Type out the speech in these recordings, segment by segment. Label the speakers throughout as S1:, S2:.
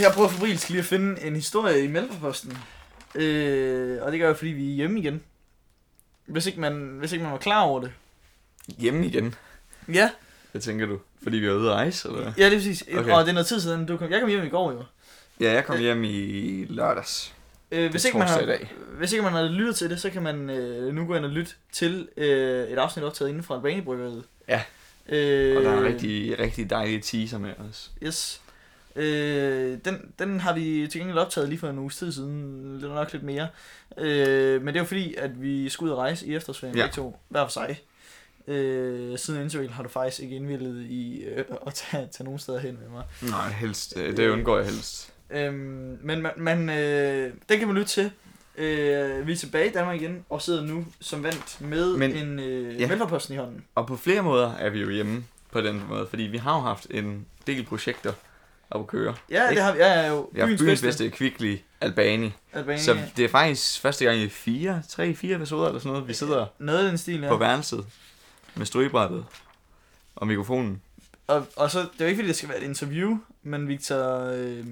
S1: Jeg prøver febrilsk lige at finde en historie i Mælkeposten. Øh, og det gør jeg, fordi vi er hjemme igen. Hvis ikke man, hvis ikke man var klar over det.
S2: Hjemme igen,
S1: Ja,
S2: hvad tænker du? Fordi vi er ude at rejse, eller hvad?
S1: ja lige præcis. Okay.
S2: Okay.
S1: Og det er noget tid siden, du kom. Jeg kom hjem i går jo.
S2: Ja, jeg kom hjem i lørdags.
S1: Øh, hvis, ikke man
S2: torsdag
S1: har,
S2: i dag.
S1: hvis ikke man har lyttet til det, så kan man øh, nu gå ind og lytte til øh, et afsnit optaget inden fra Albanibryggeriet.
S2: Ja.
S1: Øh,
S2: Og der er rigtig, rigtig dejlige teaser med os.
S1: Yes. Øh, den, den har vi til gengæld optaget lige for en uges tid siden, lidt nok lidt mere. Øh, men det er jo fordi, at vi skulle ud og rejse i efterårsferien,
S2: Ja.
S1: ja. to, hver for sig. Øh, siden interviewen har du faktisk ikke indvildet i øh, at tage, tage nogen steder hen med mig.
S2: Nej, helst. øh, Det undgår jeg helst.
S1: Øh, men man, man, øh, den kan man lytte til. Øh, vi er tilbage i Danmark igen, og sidder nu som vandt med
S2: Men-
S1: men, en øh,
S2: ja.
S1: ja. i hånden.
S2: Og på flere måder er vi jo hjemme på den måde, fordi vi har jo haft en del projekter op at køre.
S1: Ja, det
S2: Ikke?
S1: har vi. Ja, ja, jo.
S2: Ja, byens, byens bedste, Kvickly, Albani.
S1: Albania.
S2: Så det er faktisk første gang i fire, tre, fire episoder eller sådan noget, vi sidder
S1: Noget i den stil, ja.
S2: på værelset med strygebrættet og mikrofonen.
S1: Og, og så, det er jo ikke fordi, det skal være et interview, men Victor, øh,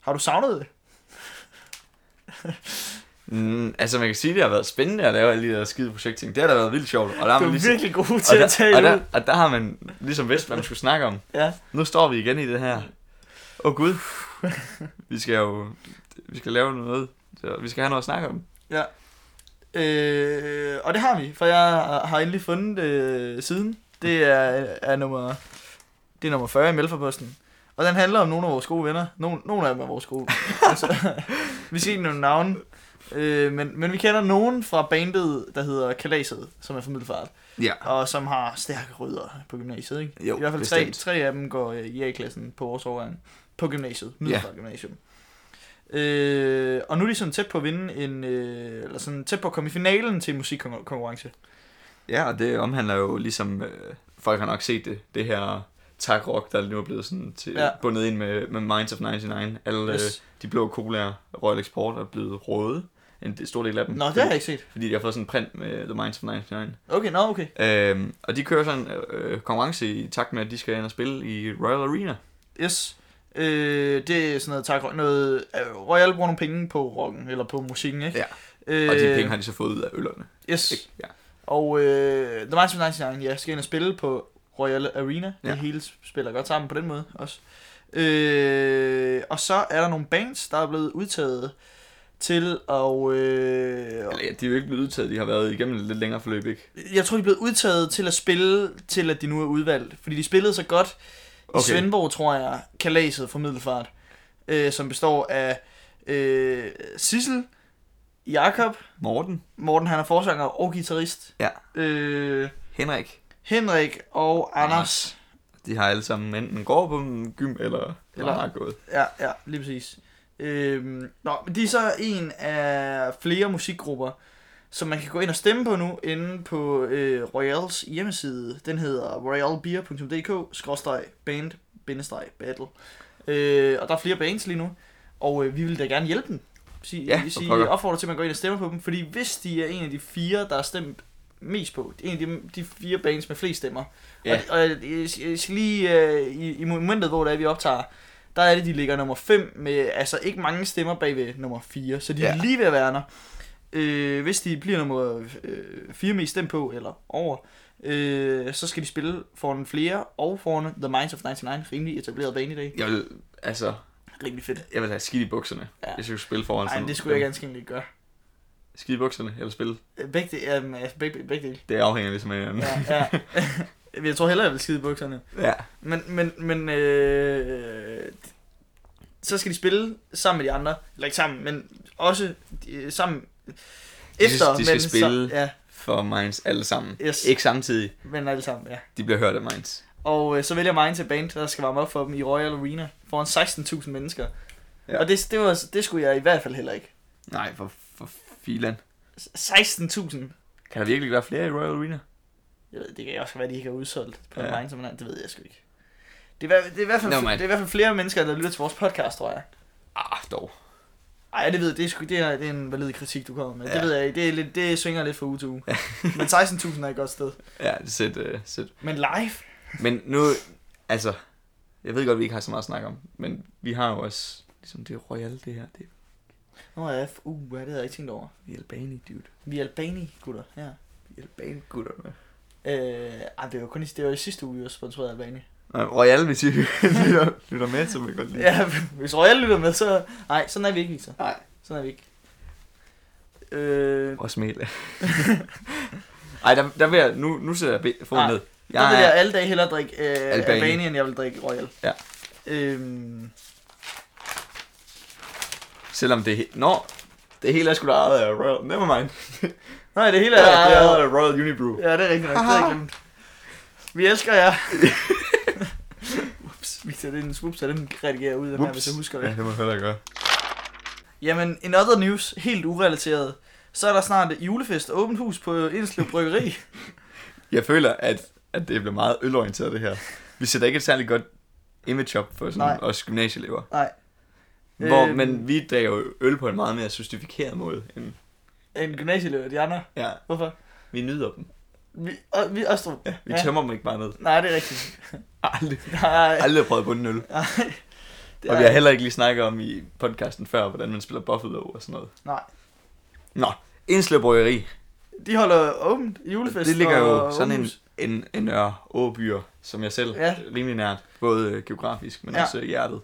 S1: har du savnet det?
S2: Mm, altså man kan sige, at det har været spændende at lave alle de der skide projektting. Det har da været vildt sjovt. Og der har
S1: Du
S2: man
S1: er
S2: ligesom,
S1: virkelig god
S2: og
S1: til
S2: der,
S1: at tale
S2: og, der,
S1: ud.
S2: og der har man ligesom vidst, hvad man skulle snakke om.
S1: Ja,
S2: Nu står vi igen i det her. Åh oh, gud, vi skal jo vi skal lave noget. Så Vi skal have noget at snakke om.
S1: ja. Øh, og det har vi, for jeg har endelig fundet øh, siden. Det er, er nummer, det er nummer 40 i Mælferposten. Og den handler om nogle af vores gode venner. Nogle, nogle af dem er vores gode. altså, vi skal ikke nogle navne. Øh, men, men vi kender nogen fra bandet, der hedder Kalaset, som er fra Middelfart.
S2: Ja.
S1: Og som har stærke rødder på gymnasiet, ikke?
S2: Jo,
S1: I hvert fald tre,
S2: bestemt.
S1: tre af dem går øh, i A-klassen på vores årgang. På gymnasiet. Middelfart Gymnasium. Øh, og nu er de sådan tæt på at vinde en... Øh, eller sådan tæt på at komme i finalen til en musikkonkurrence.
S2: Ja, og det omhandler jo ligesom, øh, folk har nok set det, det her tak rock, der nu er blevet sådan til, ja.
S1: Ja.
S2: bundet ind med, med Minds of 99. Alle
S1: Yes.
S2: yes. øh, de blå colaer, Royal Export, er blevet røde. En del- stor del af dem.
S1: Nå, det har jeg ikke set.
S2: Fordi de har fået sådan en print med The Minds of 99.
S1: Okay, nå, okay.
S2: Øhm, og de kører sådan en øh, konkurrence i takt med, at de skal ind og spille i Royal Arena.
S1: Yes. Øh, det er sådan noget, tak, noget øh, Royal bruger nogle penge på rocken, eller på musikken, ikke?
S2: Ja.
S1: Øh,
S2: Og de penge har de så fået ud af øllerne.
S1: Yes.
S2: Ikke? Ja.
S1: Og øh, The Minds of 99, ja, skal ind og spille på Royal Arena. Ja.
S2: Ja.
S1: Det hele spiller godt sammen på den måde også. Øh, og så er der nogle bands, der er blevet udtaget til at... Øh,
S2: Eller, ja, de er jo ikke blevet udtaget, de har været igennem et lidt længere forløb, ikke?
S1: jeg tror, de er blevet udtaget til at spille, til at de nu er udvalgt. Fordi de spillede så godt okay. i Svendborg, tror jeg, kalaset fra Middelfart. Øh, som består af øh, Sissel, Jakob,
S2: Morten,
S1: Morten han er forsanger og guitarist.
S2: Ja.
S1: Øh,
S2: Henrik,
S1: Henrik og Anders.
S2: de har alle sammen enten går på en gym, eller, eller
S1: Eller-
S2: har gået.
S1: Ja, ja, lige præcis. Øhm, nå, men de er så en af flere musikgrupper, som man kan gå ind og stemme på nu, inde på øh, Royals hjemmeside. Den hedder royalbeer.dk-band-battle. Øh, og der er flere bands lige nu, og øh, vi vil da gerne hjælpe dem. Sige,
S2: Ja,
S1: ja,
S2: for
S1: sige,
S2: pokker.
S1: opfordrer til, at man går ind og stemmer på dem, fordi hvis de er en af de fire, der er stemt mest på, en af de, de fire bands med flest stemmer,
S2: Ja.
S1: Ja. Og, og jeg, jeg, jeg skal lige øh, i, i momentet, hvor det er, vi optager, der er det, de ligger nummer 5 med altså ikke mange stemmer bagved nummer 4. Så de
S2: Ja.
S1: er lige ved at være der. Øh, hvis de bliver nummer 4 mest stemt på, eller over, øh, så skal de spille foran flere og foran The Minds of 99. Rimelig etableret bane i dag.
S2: Jeg vil, altså,
S1: Rimelig fedt.
S2: jeg vil have skidt i bukserne, ja.
S1: Ja.
S2: hvis jeg skulle spille foran
S1: Nej,
S2: sådan
S1: det skulle jeg
S2: dem.
S1: ganske enkelt ikke gøre.
S2: Skidt i bukserne, eller spille.
S1: Øh, Begge, de- øhm, altså, begge, begge dele.
S2: Det afhænger ligesom af hinanden.
S1: Ja, ja. jeg tror hellere, jeg vil skide i bukserne.
S2: ja.
S1: Men, men, men øh, så skal de spille sammen med de andre. Eller ikke sammen, men også øh, sammen
S2: skal-
S1: efter.
S2: de skal
S1: men
S2: spille.
S1: Så, ja,
S2: For Minds alle sammen.
S1: Yes.
S2: Ikke samtidig.
S1: men alle sammen, ja.
S2: De bliver hørt af Minds.
S1: Og øh, så vælger mig til band, der skal varme op for dem i Royal Arena foran 16.000 mennesker.
S2: Ja.
S1: Ja. Og det, det, var, det skulle jeg i hvert fald heller ikke.
S2: Nej, for, for filan.
S1: 16.000.
S2: Kan der virkelig være flere i Royal Arena?
S1: Jeg ved, det kan også være, at de ikke har udsolgt på
S2: Ja.
S1: ja. Mind, som det ved jeg sgu ikke. Det er, i hver- det, er i hvert fald,
S2: Never mind.
S1: det er i hvert fald flere mennesker, der lytter til vores podcast, tror jeg.
S2: Ah, dog.
S1: Ej, det ved jeg. Det er, sgu, det er, det er en valid kritik, du kommer med. Ja.
S2: Ja.
S1: Det ved jeg ikke. Det, er lidt, det svinger lidt fra uge til uge. Men 16.000 er et godt sted.
S2: Ja, det er sæt, uh, sæt.
S1: Men live?
S2: Men nu, altså, jeg ved godt, vi ikke har så meget at snakke om, men vi har jo også, ligesom det royale det her, det er
S1: Nå ja, f- uh, ja, det havde jeg ikke tænkt over.
S2: vi er albani, dude.
S1: Vi er albani, gutter, her.
S2: Vi er albani, gutterne.
S1: Øh, ej, det var kun i, det var i sidste uge, vi var sponsoreret af Albani.
S2: Nej, royale, hvis I lytter, lytter med, så vil jeg godt lide.
S1: Ja, hvis Royal lytter med, så... Nej, sådan er vi ikke, Victor.
S2: Nej.
S1: Sådan er vi ikke. Øh,
S2: Og smil. Ej, der, der vil jeg, nu, nu sætter jeg be- foden
S1: Nej,
S2: ned.
S1: der
S2: Jeg
S1: vil jeg
S2: er,
S1: alle dage hellere drikke øh,
S2: Albani.
S1: Albani. end jeg vil drikke Royal.
S2: Ja.
S1: Øhm, øh-
S2: selvom det er, he- nå, det hele er sgu da ejet af Royal, nevermind.
S1: nej, det hele
S2: Det
S1: er...
S2: er ejet af Royal Unibrew.
S1: Ja, det er rigtigt nok. Det havde jeg glemt. Vi elsker jer. Ups, vi tager den, ups, den redigerer ud af her,
S2: Whoops.
S1: hvis jeg husker det.
S2: Ja, det må jeg heller gøre.
S1: Jamen, in other news, helt urelateret. Så er der snart julefest og åbent hus på Indslev Bryggeri.
S2: Jeg føler, at, at det bliver meget ølorienteret, det her. Vi sætter ikke et særligt godt image op for sådan
S1: Nej.
S2: os gymnasieelever.
S1: Nej.
S2: Hvor,
S1: Øhm.
S2: Men vi drikker jo øl på en meget mere justifikeret måde. End,
S1: En gymnasieelev af de andre.
S2: ja,
S1: Hvorfor? vi,
S2: vi nyder dem.
S1: vi, og, vi Østrup.
S2: Ja, vi
S1: Ja.
S2: tømmer dem ikke bare ned.
S1: Nej, det er rigtigt.
S2: Aldrig,
S1: Nej.
S2: aldrig prøvet på en øl.
S1: Nej. Det
S2: Og vi har heller ikke lige snakket om i podcasten før, hvordan man spiller Buffalo og sådan noget.
S1: Nej.
S2: Nå, Indslev Bryggeri.
S1: De holder åbent julefest
S2: Det ligger jo
S1: og
S2: sådan en,
S1: åbenhus.
S2: en, en ør åbyer, som jeg selv,
S1: Ja.
S2: ja. rimelig nært. Både øh, geografisk, men
S1: Ja.
S2: ja. også i hjertet.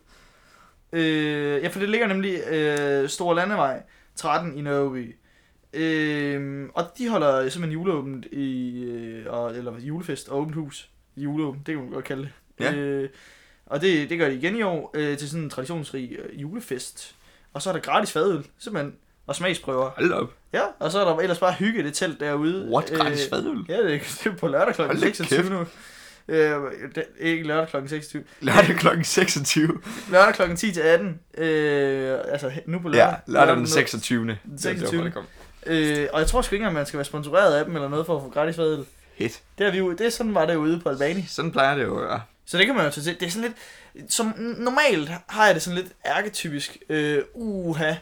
S1: Øh, ja, for det ligger nemlig øh, Store Landevej 13 i Nørreby. Øh, og de holder simpelthen juleåbent i, øh, og, eller julefest og åbent hus. Juleåbent, det kan man godt kalde det.
S2: Ja.
S1: Øh, og det, det gør de igen i år øh, til sådan en traditionsrig øh, julefest. Og så er der gratis fadøl, simpelthen, og smagsprøver.
S2: Hold da op.
S1: Ja, og så er der ellers bare hygge i det telt derude. Øh,
S2: What? Gratis fadøl?
S1: Ja, det er, det er på lørdag kl.
S2: Hold da
S1: 26
S2: kæft.
S1: nu. Øh, det, ikke lørdag kl. 26.
S2: Lørdag klokken 26.
S1: Lørdag kl. 10 til 18. Øh, altså he- nu på lørdag.
S2: Ja, lørdag den 26. Det var
S1: 26..
S2: derfor, det kom.
S1: Øh, og jeg tror sgu ikke engang, man skal være sponsoreret af dem eller noget for at få gratis fadøl.
S2: Fedt.
S1: Det, er vi jo, det er sådan var det jo ude på Albani.
S2: Sådan plejer det jo at være.
S1: Så det kan man jo tage til. Det er sådan lidt... Som n- normalt har jeg det sådan lidt ærketypisk. Øh, uha.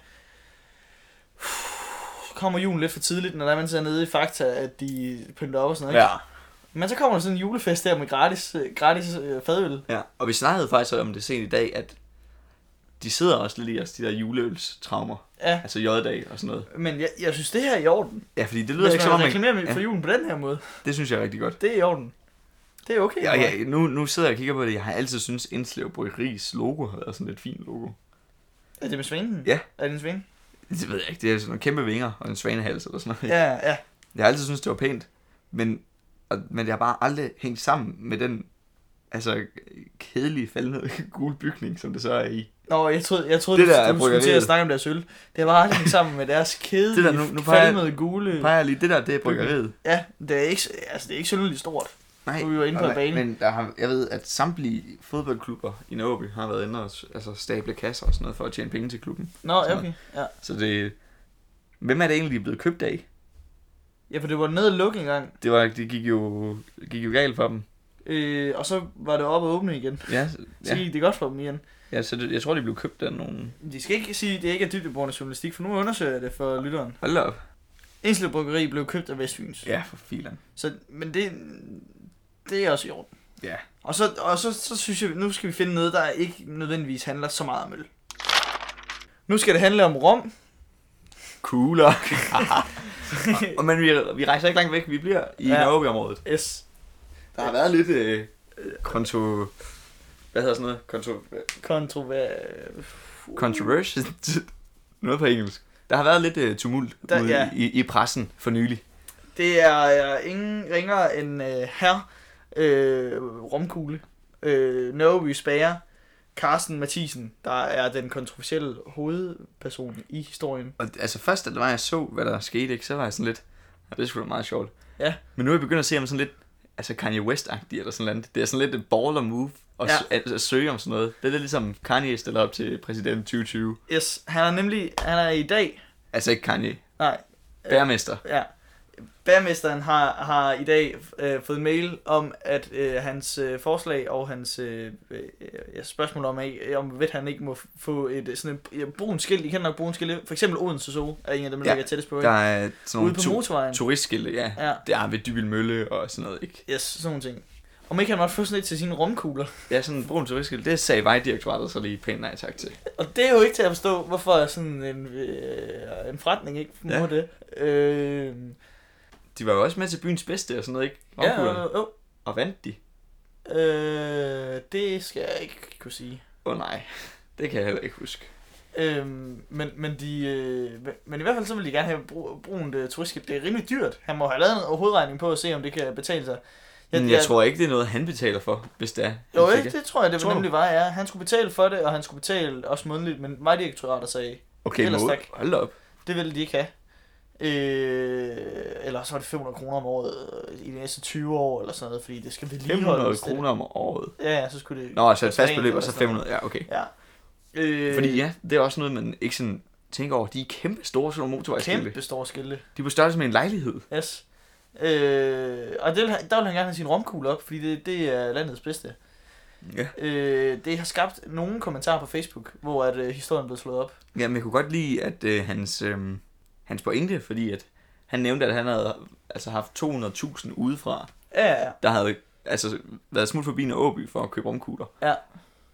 S1: Kommer julen lidt for tidligt, når der er man ser nede i Fakta, at de pynter op og sådan noget. ikke?
S2: Ja.
S1: Men så kommer der sådan en julefest der med gratis, øh, gratis øh, fadøl.
S2: ja. Og vi snakkede faktisk om det sent i dag, at de sidder også lidt i os, de der juleølstraumer.
S1: Ja.
S2: Altså J-dag og sådan noget.
S1: Men jeg, jeg synes, det her er i orden.
S2: Ja, fordi det lyder
S1: Hvis
S2: ikke som om,
S1: man
S2: man...
S1: reklamerer for
S2: ja.
S1: julen på den her måde,
S2: Det synes jeg er rigtig godt.
S1: det er i orden. Det er okay.
S2: Ja,
S1: for mig.
S2: ja, nu, nu sidder jeg og kigger på det. Jeg har altid syntes, Indslev Bryggeris logo har været sådan et fint logo.
S1: Er det med svingen?
S2: Ja.
S1: Er det en sving?
S2: Det ved jeg ikke. Det er sådan nogle kæmpe vinger og en svanehals eller sådan noget.
S1: Ja, ja.
S2: Jeg har altid syntes, det var pænt, men, og, men det har bare aldrig hængt sammen med den altså, kedelige faldende gule bygning, som det så er i.
S1: Nå, jeg troede, jeg troede
S2: Det
S1: det
S2: der er
S1: der du skulle til
S2: bryggeriet.
S1: at snakke om deres øl. Det var aldrig sammen med deres kedelige,
S2: Det
S1: det
S2: der,
S1: der,
S2: nu- nu peger-
S1: falmede gule...
S2: Peger jeg lige, det der, det er bryggeriet.
S1: Ja, det er ikke, altså, det er ikke synderligt stort.
S2: Nej,
S1: Nu er vi jo inde på
S2: og-
S1: banen.
S2: Men der har, jeg ved, at samtlige fodboldklubber i Nørreby har været inde og s- altså, stable kasser og sådan noget for at tjene penge til klubben.
S1: Nå, ja,
S2: Sådan.
S1: okay. Ja.
S2: Så det... Hvem er det egentlig de er blevet købt af?
S1: ja, for det var ned og lukke engang,
S2: Det, var, det gik, jo, gik jo galt for dem.
S1: øh, og så var det op og åbne igen.
S2: Ja, så-
S1: Så
S2: ja.
S1: gik det godt for dem igen.
S2: ja så det, jeg tror, de blev købt af nogle...
S1: De skal ikke sige, at det ikke er dybdeborende journalistik, for nu undersøger jeg det for lytteren.
S2: Hold da op.
S1: Enslev Bryggeri blev købt af Vestfyns.
S2: Ja, for filan.
S1: Så, men det, det er også i orden.
S2: Ja.
S1: Og, så, og så, så synes jeg, nu skal vi finde noget, der ikke nødvendigvis handler så meget om øl. Nu skal det handle om rom.
S2: Cooler. Og, men vi, vi rejser ikke langt væk, vi bliver i
S1: Ja.
S2: ja. Nørreby-området.
S1: S.
S2: Der har været lidt øh, konto... Hvad hedder sådan noget? Konto...
S1: Kontrover...
S2: Controversial? noget på engelsk. Der har været lidt øh, tumult
S1: Der-
S2: der, ude
S1: ja.
S2: ja. i, i pressen for nylig.
S1: Det er øh, ingen ringer end øh, herr øh, Romkugle, øh, Nørreby Bager, Carsten Mathisen, der er den kontroversielle hovedperson i historien.
S2: Og altså først, da det var, jeg så, hvad der skete, ikke, så var jeg sådan lidt... Ja, det skulle da meget sjovt.
S1: Ja.
S2: Men nu er jeg begyndt at se om sådan lidt... Altså Kanye West-agtig eller sådan noget. Det er sådan lidt et baller move at,
S1: Ja.
S2: ja. at, at, søge om sådan noget. Det er lidt ligesom Kanye stiller op til præsident 2020.
S1: Yes, han er nemlig, han er i dag,
S2: Altså ikke Kanye.
S1: nej,
S2: Bærmester.
S1: Ja. Bærmesteren har, har i dag øh, fået en mail om, at øh, hans øh, forslag og hans øh, øh, ja, spørgsmål om, øh, om ved han ikke må f- få et øh, sådan et ja, brun skilt. I kender nok brun skilt. For eksempel Odense Zoo er en af dem, der
S2: Ja,
S1: ja, ligger tættest på.
S2: Der
S1: Der,
S2: er sådan
S1: Øh, ude
S2: nogle
S1: på
S2: to-
S1: motorvejen.
S2: turistskilte, ja.
S1: Ja.
S2: Der ved Dybbøl Mølle og sådan noget, ikke?
S1: Yes, sådan nogle ting. Om ikke han måtte få sådan et til sine rumkugler.
S2: Ja, sådan en brun turistskilt, det sagde Vejdirektoratet så lige pænt nej tak til.
S1: Og det er jo ikke til at forstå, hvorfor sådan en, øh, en forretning ikke må
S2: Ja.
S1: ja. det. Øh,
S2: De var jo også med til byens bedste og sådan noget, ikke?
S1: ja,
S2: Romkuglerne.
S1: jo.
S2: Og vandt de?
S1: Øh, det skal jeg ikke kunne sige.
S2: Åh oh, nej, det kan jeg heller ikke huske.
S1: Øhm, men, men, de, øh, men- men i hvert fald så vil de gerne have brug, brunt uh, turistskib. Det er rimelig dyrt. Han må have lavet en hovedregning på at se, om det kan betale sig.
S2: Jeg, Mm, jeg, jeg tror ikke, det er noget, han betaler for, hvis det er. han
S1: Jo,
S2: fik
S1: ikke? det tror jeg, det
S2: Tror du?
S1: tror nemlig var, ja. Han skulle betale for det, og han skulle betale også månedligt, men vejdirektoratet sagde,
S2: Okay,
S1: Ellers
S2: må,
S1: tak.
S2: hold da op.
S1: det ville de ikke have. Øh, eller så var det 500 kroner om året øh, i de næste 20 år, eller sådan noget, fordi det skal vedligeholdes.
S2: 500
S1: det-
S2: kroner om året.
S1: Ja, ja, så skulle det...
S2: Nå, altså et
S1: koste
S2: fast
S1: rent
S2: beløb, og
S1: eller
S2: så
S1: sådan noget.
S2: 500. Ja, okay.
S1: Ja. Øh,
S2: Fordi ja, det er også noget, man ikke sådan tænker over. De er kæmpe store, sådan nogle motorvejsskilte.
S1: Kæmpe store skilte.
S2: De er på størrelse med en lejlighed.
S1: Yes. Øh, og det vil, han- der vil han gerne have sin romkugle op, fordi det, det er landets bedste.
S2: Ja.
S1: Øh, det har skabt nogle kommentarer på Facebook, hvor at, øh, historien blev slået op.
S2: ja, men jeg kunne godt lide, at øh, hans, øh, hans pointe, fordi at han nævnte, at han havde altså, haft 200.000 udefra,
S1: Ja, ja, ja.
S2: der havde altså, været smut forbi en Åby for at købe romkugler.
S1: Ja.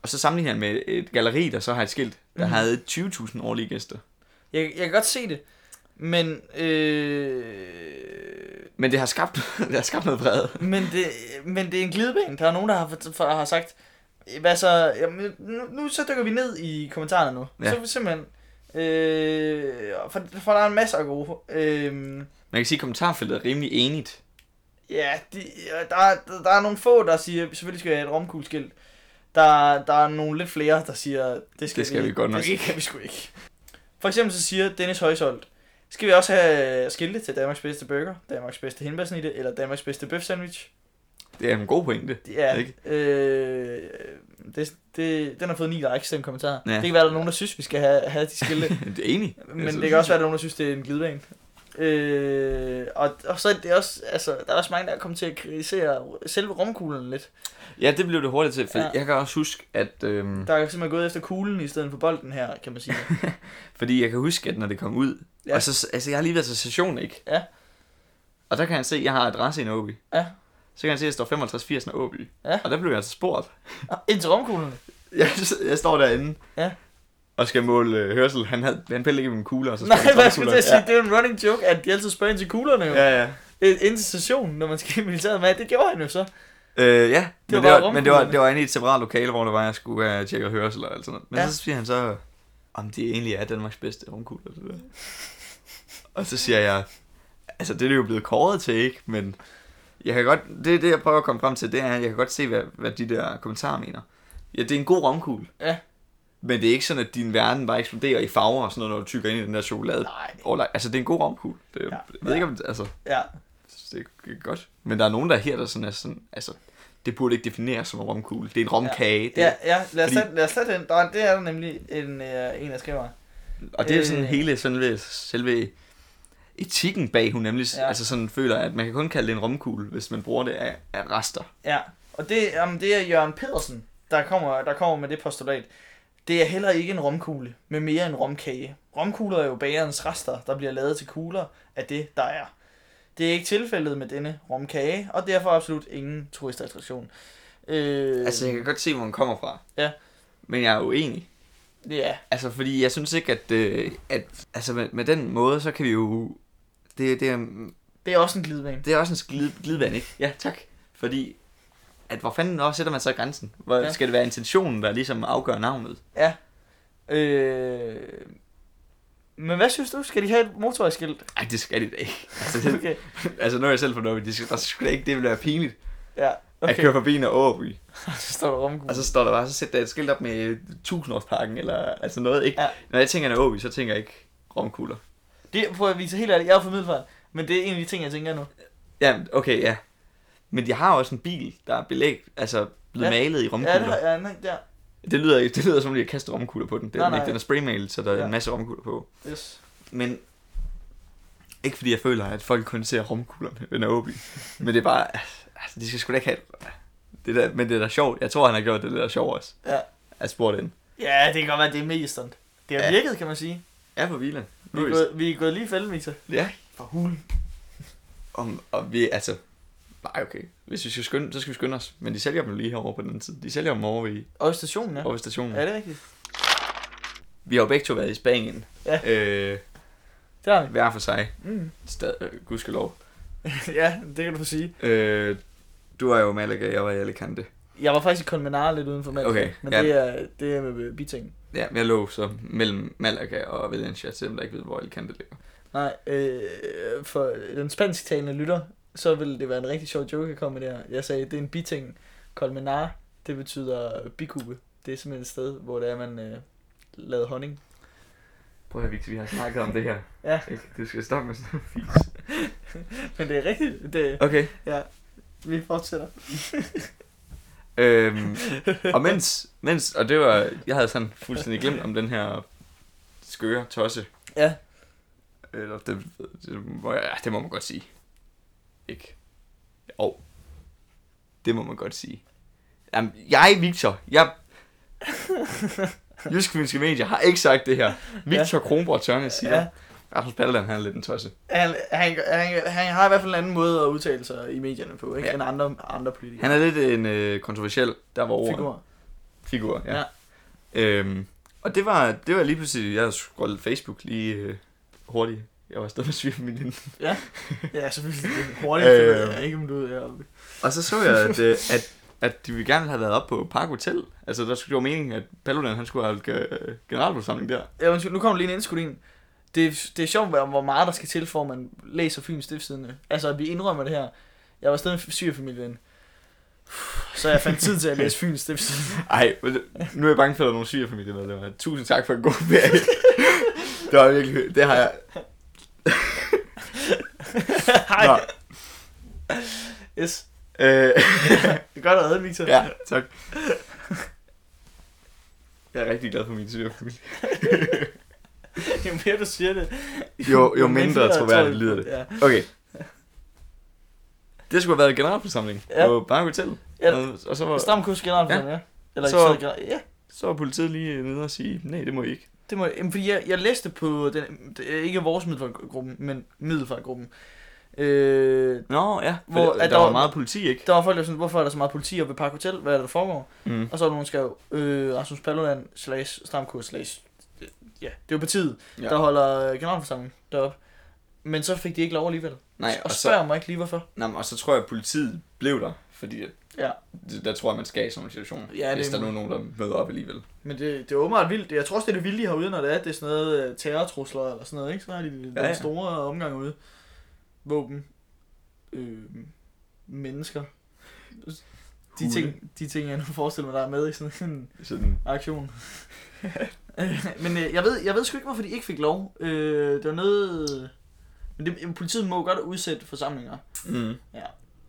S2: Og så sammenligner han med et galeri, der så har et skilt, der
S1: Mhm.
S2: havde 20.000 årlige gæster.
S1: Jeg, jeg kan godt se det, men, øh,
S2: Men det har skabt, det har skabt noget vrede.
S1: men, det, men det er en glidebane. Der er nogen, der har, fort- for, har sagt, hvad så, jamen, nu, nu så dykker vi ned i kommentarerne nu.
S2: Ja.
S1: Ja. Så er vi simpelthen, øh, for, for der er en masse af gode. Øh,
S2: Man kan sige, at kommentarfeltet er rimelig enigt.
S1: Ja, de, ja, der, er- der er nogle få, der siger, selvfølgelig skal jeg have et romkugleskilt. Der, der er nogle lidt flere, der siger, det skal,
S2: Det skal vi godt nok
S1: det skal vi sgu ikke. For eksempel så siger Dennis Højsholt, skal vi også have øh, skilte til Danmarks bedste burger, Danmarks bedste hindbærsnitte eller Danmarks bedste bøf sandwich?
S2: Det er en god pointe.
S1: Det er,
S2: Ikke?
S1: øh, det, det, den har fået 9 likes, den kommentar.
S2: Ja.
S1: Ja. Det kan være, der er nogen, der synes, vi skal have, have de skilte.
S2: det er enig.
S1: Men
S2: Altså,
S1: det kan også være, at der er nogen, der synes, det er en glidebane. Øh, og, og så er det også, altså, der er også mange, der er kommet til at kritisere selve rumkuglen lidt.
S2: Mm. Ja, det blev det hurtigt til, for ja.
S1: Ja.
S2: jeg kan også huske, at... Øhm,
S1: Der er simpelthen gået efter kuglen i stedet for bolden her, kan man sige.
S2: fordi jeg kan huske, at når det kom ud... Ja.
S1: Ja.
S2: Og så, altså, jeg har lige været til session, ikke?
S1: Ja.
S2: Og der kan han se, at jeg har adresse i Nåby.
S1: Ja.
S2: Så kan han se, at jeg står 5580 Nåby.
S1: Ja.
S2: Og der blev jeg altså spurgt.
S1: Ah, Ind til rumkuglen.
S2: Jeg, jeg står derinde.
S1: Ja.
S2: Og skal måle øh, hørsel. Han, havde, han pillede ikke med min kugle, og så
S1: Nej,
S2: spurgte han
S1: hvad jeg
S2: til
S1: skulle til
S2: kuglerne.
S1: at sige, det er jo en running joke, at de altid spørger ind til kuglerne jo. Ja.
S2: Ja, ja. ja.
S1: Ind til stationen, når man skal i militæret med. Det gjorde han jo så.
S2: Øh, ja, det
S1: Det var
S2: men, var det
S1: bare
S2: var, men det var,
S1: rumkuglerne.
S2: det var inde i et separat lokale, hvor det var, jeg skulle have tjekket hørsel og alt sådan noget. Men ja.
S1: Ja.
S2: så siger han så, om det egentlig er Danmarks bedste rumkugle. Og, det der. og så siger jeg, altså det er det jo blevet kåret til, ikke? Men jeg kan godt, det, det jeg prøver at komme frem til, det er, at jeg kan godt se, hvad, hvad de der kommentarer mener. Ja, det er en god romkugle.
S1: Ja.
S2: Men det er ikke sådan, at din verden bare eksploderer i farver og sådan noget, når du tykker ind i den der chokolade.
S1: Nej.
S2: Overlej. Altså, det er en god romkugle. Det, ja.
S1: Ja.
S2: Jeg ved ikke, om det, altså,
S1: Ja.
S2: det er godt. Men der er nogen, der er her, der sådan er sådan, altså, det burde ikke defineres som en romkugle. Det er en romkage. Det,
S1: Ja, ja, lad os
S2: Fordi-
S1: tage, lad os tage den. Der, er- det er der nemlig en, øh, en der skriver.
S2: Og det er sådan
S1: Øh.
S2: hele selve, selve etikken bag, hun nemlig ja.
S1: Ja.
S2: altså sådan føler, at man kan kun kalde det en romkugle, hvis man bruger det af, af rester.
S1: Ja, og det, jamen, det er Jørgen Pedersen, der kommer, der kommer med det postulat. Det er heller ikke en romkugle, men mere en romkage. Romkugler er jo bagerens rester, der bliver lavet til kugler af det, der er. Det er ikke tilfældet med denne romkage, og derfor absolut ingen turistattraktion. Øh,
S2: Altså, jeg kan godt se, hvor hun kommer fra.
S1: Ja.
S2: Men jeg er uenig.
S1: ja,
S2: Altså, fordi jeg synes ikke, at, øh, at altså, med, med, den måde, så kan vi jo... Det, det, er,
S1: det er også en glidebane.
S2: det er også en glid, glidebane, ikke? Ja, tak. Fordi, at hvor fanden også sætter man så grænsen? Hvor ja.
S1: Ja.
S2: skal det være intentionen, der ligesom afgør navnet?
S1: Ja. Øh, men hvad synes du? Skal de have et motorvejsskilt?
S2: Ej, det skal de da ikke. Altså, det,
S1: Okay.
S2: altså nu er jeg selv fornøjet, de skal, der skal da ikke, det ville være pinligt
S1: Ja,
S2: okay. at
S1: okay.
S2: køre forbi en Åby.
S1: Så står der romkugle.
S2: Og så står der bare, så sætter der et skilt op med øh, tusindårsparken, eller altså noget, ikke? Ja.
S1: Ja.
S2: Når jeg tænker en Åby, så tænker jeg ikke romkugler.
S1: Det prøver jeg at vise helt ærligt. Jeg er jo fra Middelfart, men det er en af de ting, jeg tænker nu.
S2: Ja, okay, ja. Men de har også en bil, der er belæg, altså blevet ja.
S1: Ja.
S2: malet i
S1: Ja, det
S2: romkugler.
S1: har
S2: Ja,
S1: jeg nej, der.
S2: det, lyder, ikke- det lyder som om, de har kastet romkugler på den. Det er
S1: Nej,
S2: den ikke,
S1: nej.
S2: den er spraymalet, så der er
S1: Ja.
S2: en masse romkugler på.
S1: Yes.
S2: Men ikke fordi jeg føler, at folk kun ser romkuglerne ved Naobi. Men det er bare, altså, de skal sgu da ikke have det der, men det er da sjovt. Jeg tror, han har gjort det der sjovt også.
S1: Ja.
S2: At spore den.
S1: Ja, det kan godt være, det er mest sådan. Det har
S2: Ja.
S1: ja. virket, kan man sige.
S2: Ja, for Vila.
S1: Vi er, gået, vi er gået lige i fælden, Victor.
S2: Ja.
S1: For hul.
S2: Om, og vi, altså, Nej, okay. Hvis vi skal skynde, så skal vi skynde os. Men de sælger dem lige herovre på den anden side. De sælger dem over ved,
S1: Og stationen, ja.
S2: over ved stationen.
S1: Ja, det er rigtigt.
S2: Vi har jo begge to været i Spanien.
S1: Ja.
S2: Øh,
S1: Det har vi.
S2: hver for sig.
S1: Mm.
S2: Stad, øh, gudskelov.
S1: ja, det kan du sige.
S2: Øh, du var jo i Malaga, jeg var i Alicante.
S1: Jeg var faktisk i Colmenar lidt uden for Malaga,
S2: Okay,
S1: men
S2: ja.
S1: det, er, det er med biting.
S2: Ja, jeg lå så mellem Malaga og Valencia, selvom jeg ikke ved, hvor Alicante ligger.
S1: Nej, øh, for den spansktalende lytter, så ville det være en rigtig sjov joke at komme der. Jeg sagde, det er en biting. Colmenar, det betyder bikube. Det er simpelthen et sted, hvor det er, man øh, lavede honning.
S2: Prøv at vi har snakket om det her.
S1: Ja.
S2: Du skal stoppe med sådan
S1: Men det er rigtigt. Det,
S2: Okay.
S1: ja, vi fortsætter.
S2: Øhm, og mens, mens, og det var, jeg havde sådan fuldstændig glemt om den her skøre tosse.
S1: Ja.
S2: Eller det, det, må, ja, det må man godt sige. Ikke? Jo. Det må man godt sige. Jamen, jeg, Victor, jeg... Jysk Fynske Medier har ikke sagt det her. Victor ja. Kronborg Tørnes siger, ja.
S1: Ja,
S2: Rasmus Paludan, han er lidt en tosse.
S1: han, han, han, han har i hvert fald en anden måde at udtale sig i medierne på, ikke?
S2: Ja.
S1: Ja. end andre, andre politikere.
S2: Han er lidt en øh, kontroversiel, der var ordet.
S1: Figur.
S2: Figur, ja.
S1: Ja.
S2: Øhm, og det var, det var lige pludselig, jeg havde scrollet Facebook lige øh, hurtigt. Jeg var stadig med svimmelinde.
S1: Ja, selvfølgelig. Det er Hurtigt, det ved
S2: Øh.
S1: jeg ikke, om du er deroppe.
S2: Og så så jeg, at, øh, at, at de ville gerne have været op på Park Hotel. Altså, der skulle jo meningen, at Paludan, han skulle have holdt øh, generalforsamling der.
S1: Ja, undskyld, nu kommer lige en indskudning. Det, er- det er sjovt, hvor hvor meget der skal til, for at man læser Fyns Stiftstidende. Altså, at vi indrømmer det her. Jeg var stadig med syrefamilien. Så jeg fandt tid til at læse Fyns Stiftstidende.
S2: Ej, men det- nu er jeg bange for, at der er nogle syge familie. Tusind tak for en god ferie. det var virkelig, det har jeg. Nå,
S1: Hej. Yes.
S2: øh,
S1: Det er godt at redde, Victor.
S2: ja, tak. Jeg er rigtig glad for min syge familie.
S1: Jo mere du siger det,
S2: Jo, jo mindre troværdigt lyder det.
S1: Ja.
S2: Okay. Det skulle have været en generalforsamling ja.
S1: Ja.
S2: på Bank Hotel.
S1: Ja.
S2: Og, og så, var,
S1: Stram kurs generelt, ja. ja. Eller
S2: Så-
S1: så... ja,
S2: så var politiet lige nede og sige, nej, det må I ikke.
S1: det må jeg, jamen, fordi jeg, jeg læste på, den, det er ikke vores middelfartgruppen, men middelfartgruppen. Øh,
S2: Nå, ja.
S1: Hvor-
S2: Hvor,
S1: at
S2: der, der
S1: der
S2: var
S1: var-
S2: meget politi, ikke?
S1: der var folk, der var sådan, hvorfor er der så meget politi oppe ved Park Hotel? Hvad er det, der foregår?
S2: Mm.
S1: Og så var der nogen, der skrev, øh, Rasmus Paludan slash stramkurs slash, øh, ja, det var partiet,
S2: Ja.
S1: ja. der holder øh, generalforsamlingen deroppe. Men så fik de ikke lov alligevel.
S2: Nej,
S1: og
S2: og
S1: spørger
S2: så,
S1: mig ikke lige, hvorfor.
S2: nej, men- og så tror jeg, at politiet blev der, fordi at-
S1: Ja.
S2: det- der tror jeg, man skal i sådan en situation,
S1: Ja, det
S2: hvis
S1: er
S2: der nu er nogen, der møder op alligevel.
S1: Men det, det er åbenbart vildt. Jeg tror også, det er det vilde herude, når det er, at det er sådan noget øh, terrortrusler eller sådan noget, ikke? Så har de den
S2: Ja, ja.
S1: store omgang ude. Våben. Øh, mennesker. De
S2: Hunde.
S1: ting, de ting, jeg nu forestiller mig, der er med i sådan en
S2: Sådan,
S1: aktion. Øh, men øh, jeg, ved, jeg ved sgu ikke, hvorfor de ikke fik lov. Øh, det var noget... Men det, jamen, politiet må jo godt udsætte forsamlinger.
S2: mm.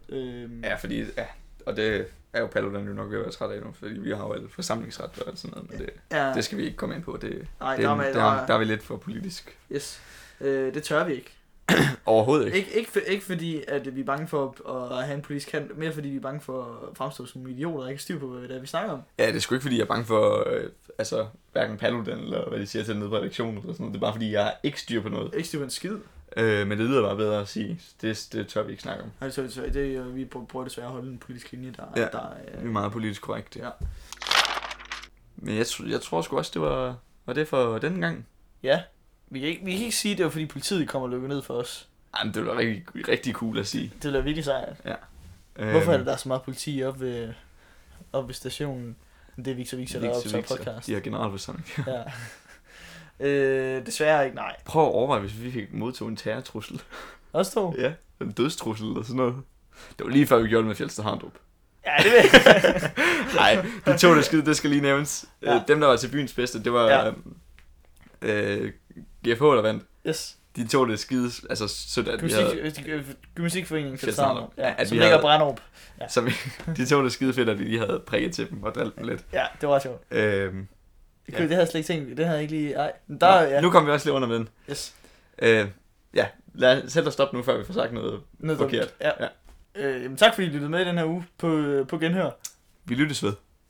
S1: Øh,
S2: Ja, fordi, ja, og det er jo Paludan jo nok ved at være træt af nu, fordi vi har jo alle forsamlingsret og sådan noget, men det,
S1: ja,
S2: det skal vi ikke komme ind på. Det,
S1: nej,
S2: det,
S1: der, er,
S2: der,
S1: der,
S2: der, der
S1: der,
S2: er vi lidt for politisk.
S1: yes. øh, det tør vi ikke.
S2: Overhovedet ikke.
S1: Ikke, ikke, for, ikke fordi, at vi er bange for at, at have en politisk kant, mere fordi vi er bange for at fremstå som idioter, der ikke har styr på, hvad det er, vi snakker om.
S2: Ja, det er sgu ikke, fordi jeg er bange for, øh, altså, hverken Paludan eller hvad de siger til nede på redaktionen eller sådan noget. Det er bare, fordi jeg har ikke styr på noget.
S1: Ikke styr på en skid.
S2: Øh, men det lyder bare bedre at sige. Det, det tør vi ikke snakke om.
S1: Nej, Altså, så, så det, er- vi prøver- prøver desværre at holde en politisk linje, der,
S2: Ja.
S1: ja. der øh, er...
S2: Det er meget politisk korrekt, ja.
S1: Ja.
S2: Men jeg, tr- jeg tror sgu også, det var, var det for den gang.
S1: Ja, vi kan, ikke, vi kan ikke sige, at det var fordi politiet kommer og lukker ned for os.
S2: Ej, men det var rigtig, rigtig cool at sige.
S1: Det bliver virkelig sejt.
S2: Øh,
S1: Hvorfor er det, der er så meget politi op ved, op ved stationen? Det er Victor Victor, der optager podcast.
S2: Øh, De har generalforsamling.
S1: Ja. øh, desværre ikke, nej.
S2: Prøv at overveje, hvis vi fik modtog en terrortrussel.
S1: Også to?
S2: ja, en dødstrussel eller sådan noget. Det var lige før, vi gjorde det med Fjeldsted Harndrup.
S1: Ja, det vil jeg.
S2: Nej, de to, der skide, det skal lige nævnes.
S1: Ja.
S2: Ja. Dem, der var til byens bedste, det var ja.
S1: Ja.
S2: øh, GFH, der vandt.
S1: yes.
S2: De to, der skide, altså sødt, at vi havde,
S1: Gymnastik, øh, Gymnastikforeningen
S2: Fjeldsted-Hammerup.
S1: Fjeldstarno, ja,
S2: Ja, at
S1: som
S2: vi
S1: ligger
S2: havde-
S1: i Brænderup. Ja.
S2: som, de to, der skide fedt, at vi lige havde prikket til dem og drillet dem lidt.
S1: Ja, det var sjovt.
S2: Øhm,
S1: Ja.
S2: Ja.
S1: Det havde jeg slet ikke tænkt, det havde jeg ikke lige... Ej, men
S2: der,
S1: der,
S2: nå,
S1: ja.
S2: Nu kom vi også lige under med den.
S1: Yes.
S2: Øh, ja, lad os sætte og stoppe nu, før vi får sagt noget.
S1: Noget
S2: Forkert.
S1: dumt. Ja.
S2: Ja.
S1: ja. Øh, jamen, tak fordi I lyttede med i den her uge på, på Genhør.
S2: Vi lyttes ved.